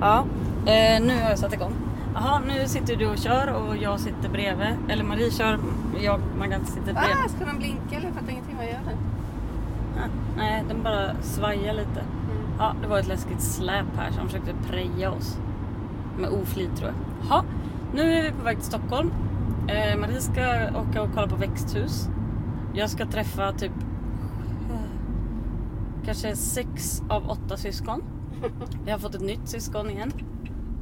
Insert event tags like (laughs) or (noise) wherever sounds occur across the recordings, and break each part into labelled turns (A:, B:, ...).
A: Ja.
B: Eh, nu har jag satt igång.
A: Jaha, nu sitter du och kör och jag sitter bredvid. Eller Marie kör, jag, Maggan sitter bredvid.
B: Ah, ska den blinka eller? Jag fattar ingenting. Vad gör den?
A: Ah, Nej, den bara svajar lite.
B: Mm.
A: Ja, det var ett läskigt släp här som försökte preja oss. Med oflit tror jag. Jaha, nu är vi på väg till Stockholm. Eh, Marie ska åka och kolla på växthus. Jag ska träffa typ eh, kanske sex av åtta
B: (laughs)
A: syskon. Jag har fått ett nytt syskon igen.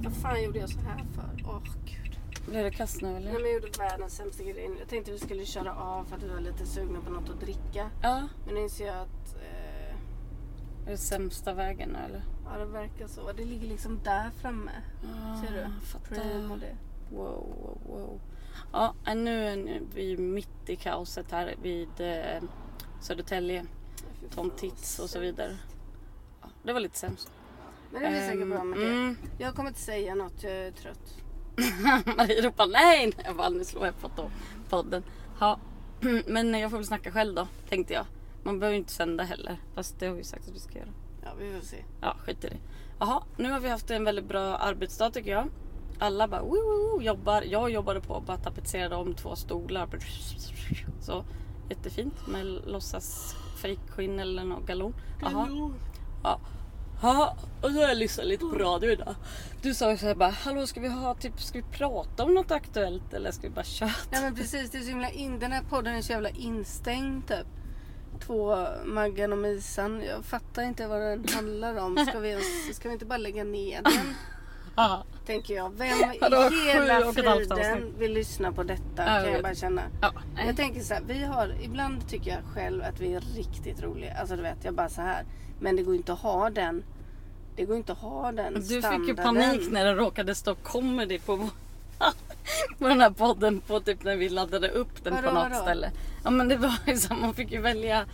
B: Vad fan gjorde jag så här för? Åh gud.
A: Blev det kast nu eller?
B: Nej, men jag gjorde världens sämsta grej. Jag tänkte vi skulle köra av för att vi var lite sugna på något att dricka.
A: Ja,
B: Men nu inser jag att eh,
A: är det sämsta vägen nu eller?
B: ja, det verkar så. Det ligger liksom där framme. Ser du?
A: Ah,
B: Prim och
A: Fattar.
B: det.
A: Wow, wow, wow. Ja, eh, nu är ni- vi är mitt i kaoset här vid eh, Södertälje.
B: Fy fan,
A: Tom
B: vad
A: Tits och så
B: synd.
A: vidare. Ja, det var lite sämst. (laughs)
B: Men det blir säkert
A: Ehm,
B: bra med det.
A: mm.
B: Jag kommer inte säga något. Jag är trött.
A: Marie ropar nej, nej. Jag bara, nu slår jag på to- podden. Ja. (clears throat) Men jag får väl snacka själv då, tänkte jag. Man behöver ju inte sända heller. Fast det har vi ju sagt att vi ska göra.
B: Ja, vi får se.
A: Ja, skit i det. Jaha, nu har vi haft en väldigt bra arbetsdag tycker jag. Alla bara woo, woo, woo, jobbar. Jag jobbade på att bara tapetsera om två stolar. Så jättefint med låtsas fejkskinn eller något galon. Jaha. Ja. Jaha, och så har jag lyssnat lite på radio idag. Du sa ju såhär bara, hallå ska vi ha typ, ska vi prata om något aktuellt eller ska vi bara köta?
B: Nej men precis, det är så himla in... den här podden är så jävla instängd typ. Två Maggan och Misan. Jag fattar inte
A: (laughs)
B: vad den handlar om. Ska vi, ens- ska vi inte bara lägga ner den?
A: Ja.
B: Tänker jag. Vem i
A: Vadå, sju och
B: hela
A: ett halvt
B: friden
A: avsnitt?
B: vill lyssna på detta?
A: Ja, jag
B: kan jag
A: vet.
B: bara känna.
A: Ja,
B: Jag
A: nej.
B: tänker så här, vi har, ibland tycker jag själv att vi är riktigt roliga. Alltså du vet, jag bara så här. Men det går inte att ha den. Det går inte att ha den
A: Du fick ju
B: standarden.
A: panik när det råkade stå comedy på, vår- (laughs) på den här podden på typ när vi laddade upp den
B: Vadå,
A: på något
B: vadå?
A: ställe. Ja men det var ju så här, man fick ju välja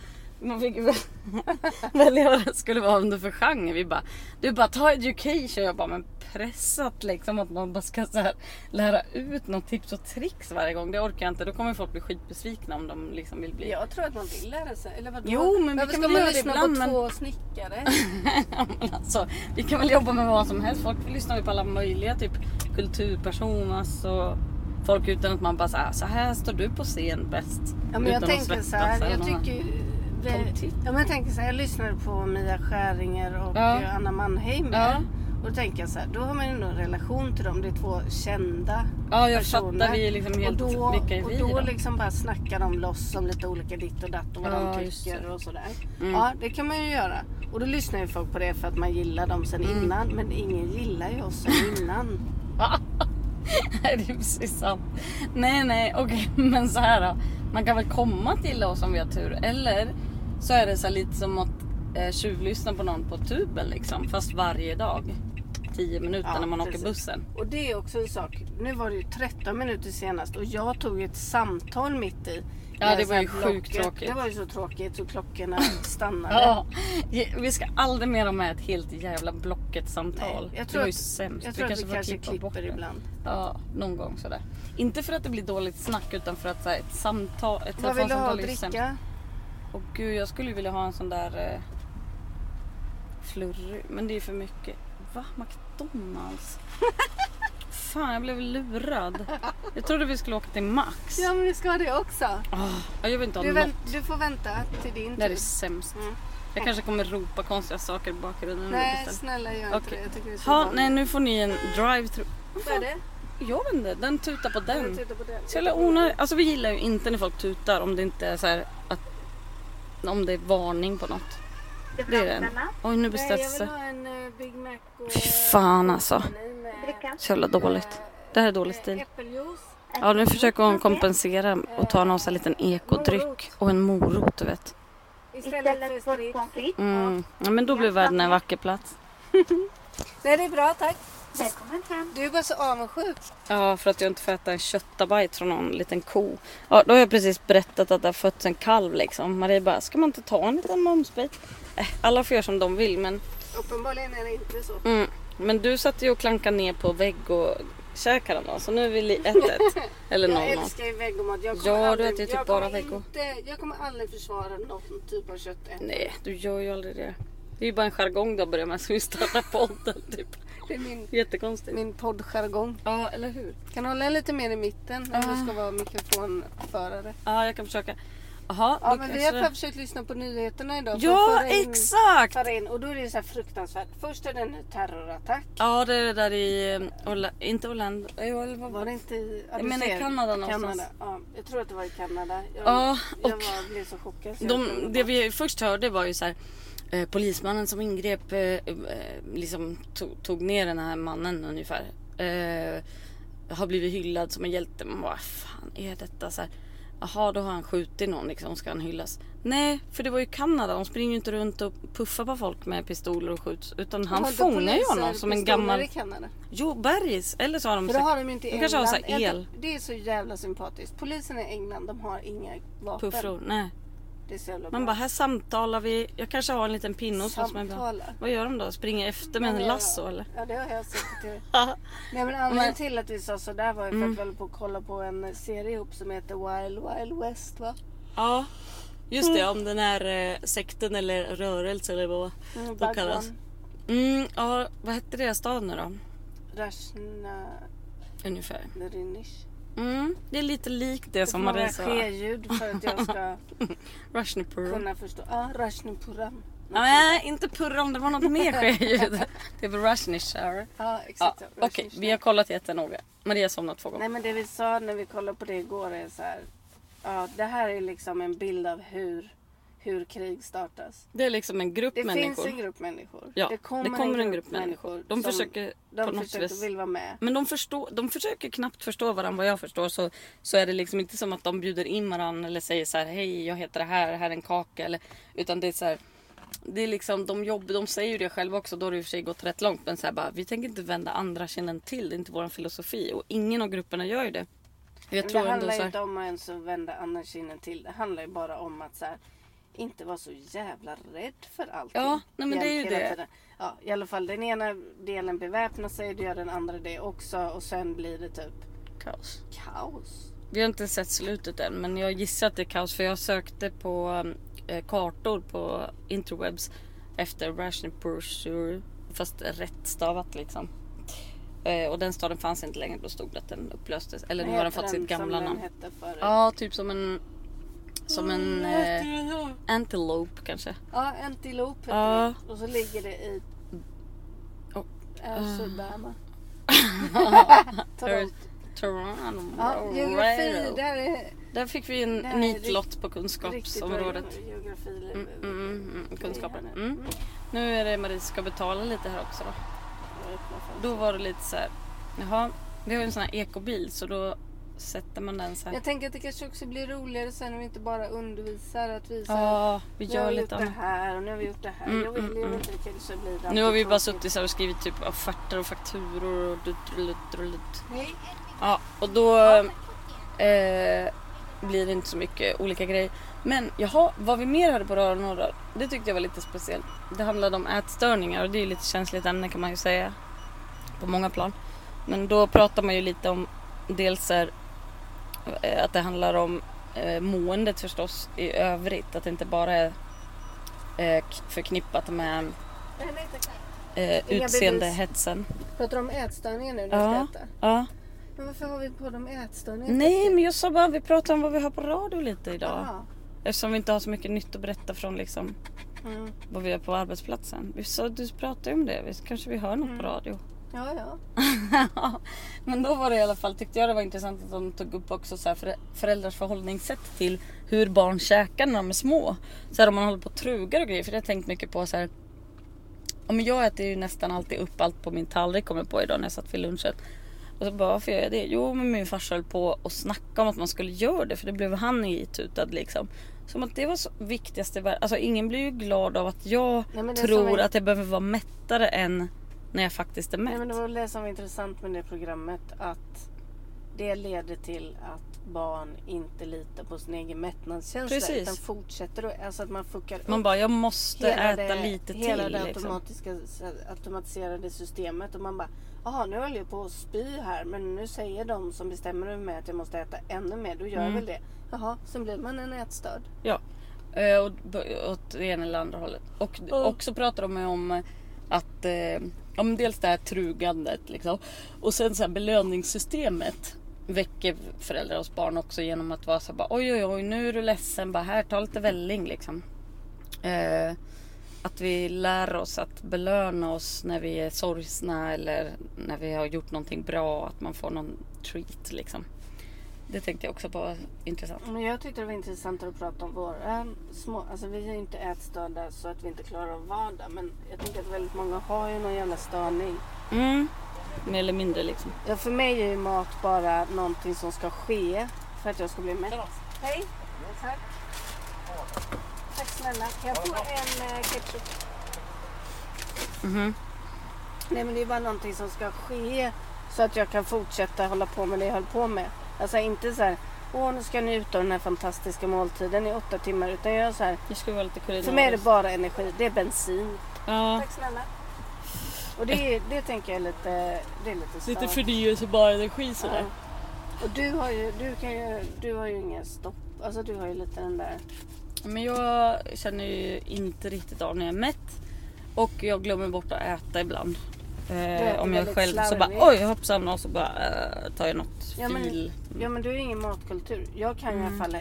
A: man fick ju välja, (laughs) välja vad det skulle vara under för genre. Vi bara, du bara ta education. Jag bara, men pressat liksom att man bara ska så här lära ut något tips och tricks varje gång. Det orkar jag inte. Då kommer folk bli skitbesvikna om de liksom vill bli.
B: Jag tror att man vill lära sig. Eller vadå?
A: Jo, men vi
B: Varför
A: kan
B: ska
A: väl
B: man
A: göra det
B: lyssna
A: ibland,
B: på
A: men-
B: två snickare?
A: Men (laughs) alltså, vi kan väl jobba med vad som helst. Folk lyssnar ju på alla möjliga typ kulturpersoner alltså, folk utan att man bara så här, så här står du på scen bäst.
B: Ja, men jag
A: utan att
B: tänker så här,
A: svettas
B: jag
A: eller något.
B: tycker...
A: Tom
B: Det,
A: Titt.
B: ja, men jag tänker så här, jag lyssnade på Mia Skäringer och
A: Ja.
B: eh, Anna Mannheimer.
A: Ja.
B: Och då tänker jag så här, då har man ju ändå en relation till dem. Det är två kända
A: Ja, jag
B: personer.
A: fattar. Vi är liksom helt...
B: och då,
A: vilka är vi
B: Och då
A: då?
B: liksom bara snackar de loss om lite olika ditt och datt och vad
A: Ja,
B: de
A: just
B: tycker
A: det.
B: och sådär.
A: Mm.
B: Ja, det kan man ju göra. Och då lyssnar ju folk på det för att man gillar dem sen
A: Mm.
B: innan. Men ingen gillar ju oss
A: (laughs)
B: sen innan.
A: (laughs) Nej, det är precis sant. Nej, nej, okej, (laughs) men så här då. Man kan väl komma till oss om vi har tur. Eller så är det så här lite som att eh, tjuvlyssna på någon på tuben liksom. Fast varje dag. 10 minuter
B: Ja,
A: när man
B: precis.
A: åker bussen.
B: Och det är också en sak. Nu var det ju 13 minuter senast och jag tog ju ett samtal mitt i.
A: Ja,
B: Med
A: det
B: så
A: var
B: här
A: ju sjukt
B: blocket.
A: tråkigt.
B: Det var ju så tråkigt
A: (laughs)
B: så klockorna stannade.
A: Ja, vi ska aldrig mer ha med ett helt jävla Blocket-samtal.
B: Nej, jag
A: det
B: tror
A: var ju
B: att-
A: sämst.
B: Jag tror att vi
A: får
B: kanske
A: klippa bort
B: klipper
A: det.
B: ibland.
A: Ja, någon gång sådär. Inte för att det blir dåligt snack utan för att så här, ett samtal, ett
B: Vad vill du ha att
A: telefonsamtal är ju sämst.
B: dricka?
A: Och gud, jag skulle ju vilja ha en sån där eh, flurry. Men det är för mycket. Va?
B: (laughs)
A: McDonalds? Fan, jag blev lurad. Jag trodde vi skulle åka till Max.
B: Ja men vi ska ha det också.
A: Ah, jag vill inte ha
B: Du,
A: något.
B: vänt, du får vänta till din
A: Det här är
B: tur.
A: sämst.
B: Mm.
A: Jag kanske kommer ropa konstiga saker i bakgrunden. när vi
B: Nej
A: beställer.
B: snälla gör inte
A: Okej.
B: det. Jag tycker det är så
A: Ha,
B: vanligt.
A: nej nu får ni en drive-thru.
B: Vad är det?
A: Jag vet inte, den tutar på
B: Jag
A: den.
B: tittar på den.
A: Mm. Så jävla onödigt. Alltså vi gillar ju inte när folk tutar om det inte är så här att... Om det är varning på något. Det är den. Oj nu
B: Nej, jag
A: beställs
B: vill
A: det.
B: ha en eh, Big Mac och...
A: Fy fan alltså.
B: Nej, med-
A: Så jävla dåligt. Det här är dålig stil.
B: Äppeljuice.
A: Ja nu försöker hon kompensera och ta någon sån här liten ekodryck. Och en morot du vet.
B: Istället för sprit.
A: Mm. Ja, men då blir världen en vacker plats.
B: Nej det är bra tack.
C: Välkommen hem.
B: Du är bara så avundsjuk.
A: Ja, för att jag inte får äta en köttabajt från någon liten ko. Ja, då har jag precis berättat att det har fötts en kalv liksom. Marie bara, ska man inte ta en liten momsbit? Äh, alla får göra som de vill men...
B: Uppenbarligen är det inte så.
A: Mm. Men du satt ju och klankade ner på vägg och käkade då, så nu är vi li-
B: (laughs)
A: 1-1. Eller
B: Jag
A: 0-0.
B: älskar ju vegomat. Jag
A: Ja,
B: kommer
A: du
B: aldrig-
A: äter ju typ
B: jag
A: bara
B: kommer
A: vego.
B: inte- Jag kommer aldrig försvara någon typ av kött.
A: Nej, du gör ju aldrig det. Det är ju bara en jargong du har börjat med som vi startar podden (laughs) typ.
B: Det är min,
A: Jättekonstigt.
B: min poddjargong.
A: Ja, eller hur?
B: Kan du hålla den lite mer i mitten när
A: Ah.
B: du ska vara mikrofonförare?
A: Ja, jag kan försöka. Jaha,
B: Ja,
A: då
B: men vi
A: kanske
B: har
A: det-
B: bara försökt lyssna på nyheterna idag. för att
A: Ja,
B: föra in-
A: exakt!
B: Föra in, och då är det så här fruktansvärt. Först är det en terrorattack.
A: Ja, det är det där i... eh, Orla, inte Orlando. Jo, eller vad var
B: Var
A: det?
B: det inte i... Ja,
A: Jag
B: du
A: menar i
B: ser.
A: Kanada någonstans.
B: Kanada. Ja, jag tror att det var i Kanada. Jag,
A: Ja,
B: jag
A: och
B: var, blev så chockad. så jag
A: De,
B: glömde
A: det
B: bort.
A: vi först hörde var ju så här... Eh, polismannen som ingrep eh, eh, liksom tog, tog ner den här mannen ungefär. Eh, har blivit hyllad som en hjälte. Man bara, vad fan är detta? Så här, Jaha, då har han skjutit någon liksom. Ska han hyllas? Nej, för det var ju Kanada. De springer ju inte runt och puffar på folk med pistoler och skjuts. Utan han
B: Har inte
A: fångar ju
B: poliser
A: honom som en
B: pistoler
A: gammal...
B: i Kanada?
A: Jo, bergis. Eller så har de...
B: För det
A: säkert-
B: har de ju inte i
A: de kanske har så här
B: England. Jag
A: el.
B: tycker- Det är så jävla sympatiskt. Polisen i England, de har inga vapen.
A: Puffror, nej.
B: Det är så jävla
A: Man
B: bra.
A: bara, här samtalar vi. Jag kanske har en liten pinne hos oss. men bara-
B: Samtala.
A: Vad gör de då? Springer efter med en
B: Ja,
A: lasso eller?
B: Ja, det har jag sett.
A: (laughs)
B: i- Nej, men anledningen till att vi sa sådär var ju för
A: Mm.
B: att vi höll på att kolla på en serie ihop som heter Wild Wild West va?
A: Ja. Just det, om den här eh, sekten eller rörelsen eller vad
B: Mm,
A: de kallas. Mm, ja, vad hette deras stad nu då? Ungefär.
B: Rashnarinish.
A: Mm, det är lite likt det som
B: många
A: Marissa...
B: ske-ljud för att
A: (laughs)
B: jag ska
A: Rushnipur.
B: kunna förstå. Ja, Rashnipuram.
A: Nej, inte purra om det var något mer ske-ljud.
B: (laughs)
A: Det är väl Rushnishar.
B: Ja,
A: Ja,
B: exakt.
A: Okej, vi har kollat jättenoga. Maria somnat två gånger.
B: Nej men det vi sa när vi kollade på det igår är så här. Ja, det här är liksom en bild av hur, hur krig startas.
A: Det är liksom en grupp
B: Det
A: människor.
B: finns en grupp människor.
A: Ja, det kommer, en grupp människor. De
B: som-
A: försöker på
B: de
A: något
B: försöker
A: vis.
B: vill vara med.
A: Men de, förstår, de försöker knappt förstå varandra vad jag förstår. Så, så är det liksom inte som att de bjuder in varandra eller säger så här hej jag heter det här, här är en kaka. Eller, utan det är så här. Det är liksom, de, jobb, de säger ju det själva också, då har det i och för sig gått rätt långt. Men så här bara, vi tänker inte vända andra kinden till, det är inte vår filosofi. Och ingen av grupperna gör ju det. Jag
B: Men
A: tror
B: det
A: ändå
B: handlar
A: så
B: ju
A: här,
B: inte om att ens vända andra kinden till. Det handlar ju bara om att så här, inte vara så jävla rädd för allting.
A: Ja, nej, men det är ju
B: Hela
A: det.
B: tiden. Ja, I alla fall den ena delen beväpnar sig, det gör den andra det också och sen blir det typ
A: kaos.
B: kaos.
A: Vi har inte sett slutet än men jag gissar att det är kaos för jag sökte på eh, kartor på interwebs efter Russian Pursuer fast rätt stavat liksom. Eh, och den staden fanns inte längre, då stod det att den upplöstes. Eller nu
B: Vad
A: har den
B: heter
A: fått
B: Mm,
A: sitt gamla
B: som
A: namn.
B: Den hette förut?
A: Ja, typ som en... Som en...
B: Vad hette
A: Eh,
B: den då?
A: antelope kanske.
B: Ja, antilop heter
A: Ja.
B: det. Och så ligger det i
A: Och- ah. (laughs)
B: eh, Sydbama.
A: Där-
B: Toronto.
A: Toronto.
B: Ja, geografi,
A: Railroad.
B: där är
A: Där fick vi en
B: där är
A: nitlott på
B: riktigt bra
A: kunskapsområdet.
B: geografi.
A: Mm, mm, mm, mm, kunskapen.
B: grejer här nu.
A: Mm. Nu är det Marie ska betala lite här också då.
B: Jag öppnar fönstret.
A: Då var det lite så här. Jaha, vi har ju en sån här ekobil så då sätter man den så här.
B: Jag tänker att det kanske också blir roligare sen om vi inte bara undervisar. Att vi så här,
A: Ja, vi
B: nu har
A: gör
B: vi gjort
A: lite
B: det
A: annat.
B: här och nu har vi gjort det här.
A: Mm,
B: jag vill,
A: mm,
B: jag
A: mm.
B: vet inte, det kanske blir
A: Nu har vi bara
B: tråkigt.
A: suttit så här och skrivit typ offerter och fakturor och dutt
B: Nej,
A: Ja, och då eh, blir det inte så mycket olika grejer. Men jaha, vad vi mer hade på radion och rad, det tyckte jag var lite speciellt. Det handlade om ätstörningar och det är ju lite känsligt ämne kan man ju säga. På många plan. Men då pratar man ju lite om dels så här, eh, att det handlar om eh, måendet förstås i övrigt. Att det inte bara är eh, k- förknippat med
B: nej, nej, tack.
A: eh,
B: bevis.
A: utseendehetsen.
B: Pratar du om ätstörningar nu när
A: Ja.
B: vi ska äta?
A: Ja.
B: Men varför har vi på dem ätstörningar?
A: Nej, men jag sa bara vi pratar om vad vi har på radio lite idag.
B: Jaha.
A: Eftersom vi inte har så mycket nytt att berätta från liksom,
B: Mm.
A: vad vi gör på arbetsplatsen. Vi sa, du pratade ju om det, vi, kanske vi hör något på radio.
B: Ja, ja.
A: Men då var det i alla fall, tyckte jag det var intressant att de tog upp också så här förä- föräldrars förhållningssätt till hur barn käkar när de är små. Så här om man håller på och trugar och grejer, för det har jag tänkt mycket på så här. Ja, men jag äter ju nästan alltid upp allt på min tallrik kommer jag på idag när jag satt vid lunchen. Och så bara, varför gör jag det? Jo, men min farsa höll på och snacka om att man skulle göra det för det blev han itutad liksom. Som att det var så viktigaste i världen. Alltså ingen blir ju glad av att jag
B: Nej, men det är
A: tror
B: som en-
A: att jag behöver vara mättare än när jag faktiskt är mätt.
B: Nej, men det var väl det som var intressant med det programmet. Att det leder till att barn inte litar på sin egen mättnadskänsla.
A: Precis.
B: Utan fortsätter och, alltså att man fuckar
A: Man
B: upp
A: bara, jag måste
B: hela
A: äta
B: det,
A: lite
B: hela
A: till.
B: det
A: Liksom.
B: automatiska, automatiserade systemet. Och man bara, jaha nu håller jag på att spy här. Men nu säger de som bestämmer över mig att jag måste äta ännu mer. Då
A: Mm.
B: gör jag väl det. Jaha, sen blir man en ätstörd.
A: Ja. Eh, Och, b- åt det ena eller andra hållet. Och
B: Ja.
A: också pratar de ju om eh, att eh, Ja, men dels det här trugandet liksom. Och sen så här belöningssystemet väcker föräldrar hos barn också genom att vara så här, bara, oj oj oj nu är du ledsen, bara här ta lite välling liksom. Eh, att vi lär oss att belöna oss när vi är sorgsna eller när vi har gjort någonting bra, att man får någon treat liksom. Det tänkte jag också på, var intressant.
B: Men jag tyckte det var intressantare att prata om våra små... Alltså vi är ju inte ätstörda så att vi inte klarar av vardag. Men jag tänker att väldigt många har ju någon jävla störning.
A: Mm. Mer eller mindre liksom.
B: Ja, för mig är ju mat bara någonting som ska ske för att jag ska bli mätt. Hej! Tack! Tack snälla. Kan jag få en eh, ketchup?
A: Mhm.
B: Nej men det är bara någonting som ska ske så att jag kan fortsätta hålla på med det jag höll på med. Alltså inte så här, åh nu ska jag njuta av den här fantastiska måltiden i åtta timmar. Utan jag är så här,
A: Nu ska vi vara lite kulinariska.
B: för mig är det bara energi, det är bensin.
A: Ja,
B: Tack snälla. Och det, är- det tänker jag är lite, det är lite
A: lite
B: stört.
A: förnyelsebar energi
B: Ja.
A: sådär.
B: Och du har ju, du kan ju, du har ju ingen stopp. Alltså du har ju lite den där,
A: Men jag känner ju inte riktigt av när jag är mätt. Och jag glömmer bort att äta ibland. Eh,
B: äter
A: om jag är
B: väldigt
A: själv så
B: slarvigt.
A: bara oj hoppsan och så bara eh, tar jag något
B: Ja, men-
A: fil.
B: ja men du är ju ingen matkultur. Jag kan ju i alla fall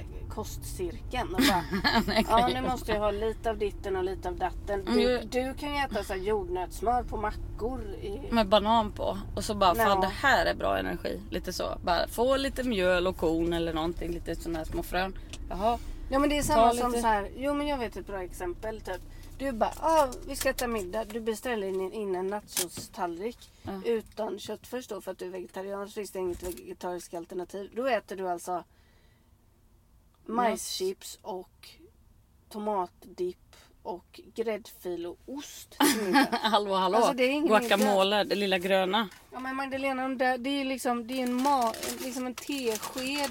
A: (laughs)
B: kostcirkeln och bara
A: Mm. Nej,
B: Ja,
A: grej.
B: nu måste jag ha lite av ditten och lite av datten. Du,
A: Mm.
B: du kan ju äta så här jordnötssmör på mackor. I...
A: Med banan på och så bara fan
B: Ja.
A: det här är bra energi. Lite så. Bara få lite mjöl och korn eller någonting. Lite sådana här små frön. Jaha. (laughs)
B: Ja, men det är samma
A: Ta
B: som
A: lite-
B: så här. Jo, men jag vet ett bra exempel. Typ. Du bara, ah, vi ska äta middag. Du beställer in, in en nachostallrik
A: Ja.
B: utan kött först då för att du är vegetarian. Så finns det inget vegetariskt alternativ. Då äter du alltså majschips och tomatdipp och gräddfil och
A: (laughs)
B: ost. till middag.
A: Hallå hallå.
B: Alltså, det är ingen
A: Guacamole, det lilla gröna.
B: Ja men Magdalena, de där, det är ju liksom, det är en, ma, liksom en tesked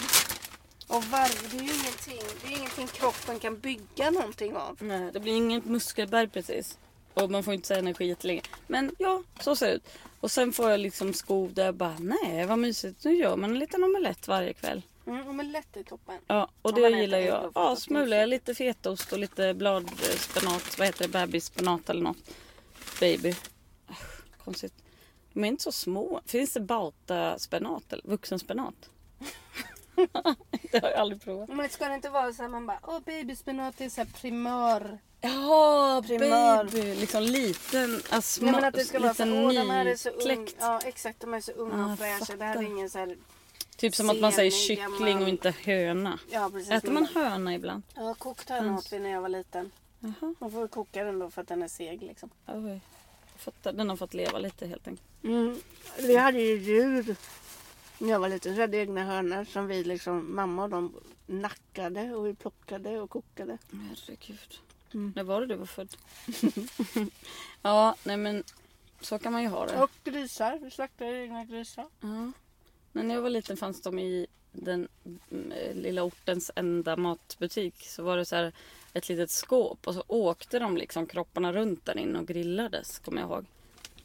B: av varje. Det är ju ingenting, det är ingenting kroppen kan bygga någonting av.
A: Nej, det blir inget muskelberg precis. Och man får inte säga energi jättelänge. Men ja, så ser det ut. Och sen får jag liksom skov där jag bara, nej vad mysigt. Nu gör man en liten omelett varje kväll.
B: Mm, men lätt i toppen.
A: Ja, och det
B: Ja, man äter
A: gillar
B: ägg
A: jag.
B: och
A: Ja,
B: potatis.
A: smula, lite fetaost och lite bladspenat. Vad heter det? Bebisspenat eller något. Baby. Äsch, Konstigt. De är inte så små. Finns det bautaspenat eller vuxenspenat? (laughs) det har jag aldrig provat.
B: Men ska det inte vara så här man bara, åh babyspenat är så här primör.
A: Jaha,
B: Primör.
A: baby. Liksom liten, äh, små,
B: Nej men att det ska vara så,
A: liten
B: åh de här är så unga.
A: nykläckt.
B: Ja exakt, de är så unga
A: Ja,
B: och fräscha. Det här är
A: fattar.
B: ingen så här,
A: Typ som att man säger
B: Senig,
A: kyckling
B: gammal.
A: och inte höna.
B: ja precis.
A: Äter man höna ibland?
B: Ja, kokt höna åt vi när jag var liten.
A: Jaha,
B: Man får väl koka den då för att den är seg liksom.
A: oj. Jag fattar. Den har fått leva lite helt enkelt.
B: Mm. Vi hade ju djur när jag var liten. Så hade jag egna hönor som vi liksom, mamma och de nackade och vi plockade och kokade.
A: Herregud.
B: Mm.
A: När var det du var född? (laughs) ja, nej men så kan man ju ha det.
B: Och grisar. Vi slaktade egna grisar.
A: Ja. Men när jag var liten fanns de i den mm, eh, lilla ortens enda matbutik. Så var det så här ett litet skåp och så åkte de liksom kropparna runt där inne och grillades, kommer jag ihåg.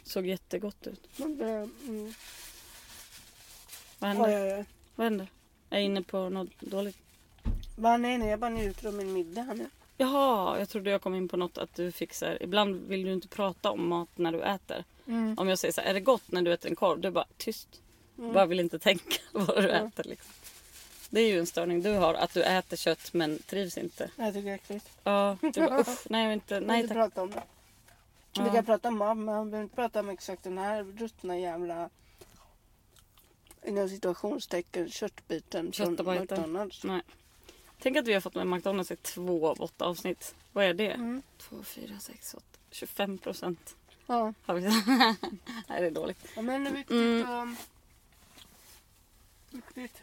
A: Såg jättegott ut.
B: Men det, mm,
A: Vad
B: har
A: händer?
B: jag ju.
A: Vad händer? Jag är inne på något dåligt.
B: Bara, nej, nej, jag bara njuter av min middag här nu.
A: Jaha, jag trodde jag kom in på något att du fixar. Ibland vill du inte prata om mat när du äter.
B: Mm.
A: Om jag säger så här, är det gott när du äter en korv? Du bara tyst.
B: Mm.
A: Bara vill inte tänka (laughs) vad du
B: Mm.
A: äter. Liksom. Det är ju en störning du har, att du äter kött men trivs inte.
B: Jag tycker det är äckligt.
A: Ja, du bara, usch, nej jag vill inte,
B: Nej,
A: nej
B: inte
A: tack.
B: prata om det. Vi
A: Ja.
B: kan prata om mat, men man behöver inte prata om exakt den här ruttna jävla inom situationstecken köttbiten från
A: Köttbiten. Mm.
B: McDonalds.
A: Nej. Tänk att vi har fått med McDonalds i två av åtta avsnitt. Vad är det?
B: Mm.
A: Två, fyra, sex, åtta. 25 procent
B: Ja.
A: har vi. (laughs) nej det är dåligt.
B: Ja, men det är viktigt
A: Mm.
B: att... Viktigt att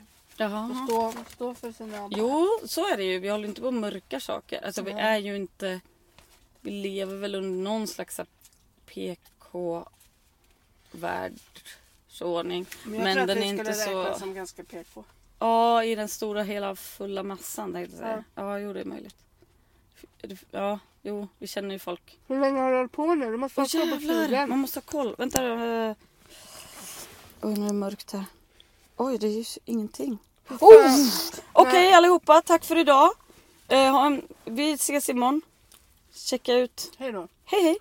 A: Jaha.
B: stå, stå för sina...
A: Jo, så är det ju. Vi håller inte på och mörkar saker. Alltså vi
B: Ja.
A: är ju inte... Vi lever väl under någon slags så här PK-världsordning.
B: men
A: men
B: jag tror att
A: den
B: det
A: är
B: skulle
A: inte så-
B: räknas som ganska PK.
A: Ja, i den stora hela fulla massan tänkte jag säga. Ja, jo det är möjligt. Ja, jo, vi känner ju folk.
B: Hur länge har du hållit på nu? Du måste
A: Åh
B: vara på
A: jävlar, man
B: tiden.
A: måste ha koll. Vänta. eh. Oj, nu är det mörkt här. Oj, det är ju s- ingenting. Oh! Okej allihopa, tack för idag. Eh, ha en, vi ses imorgon. Checka ut.
B: Hej då.
A: Hej hej!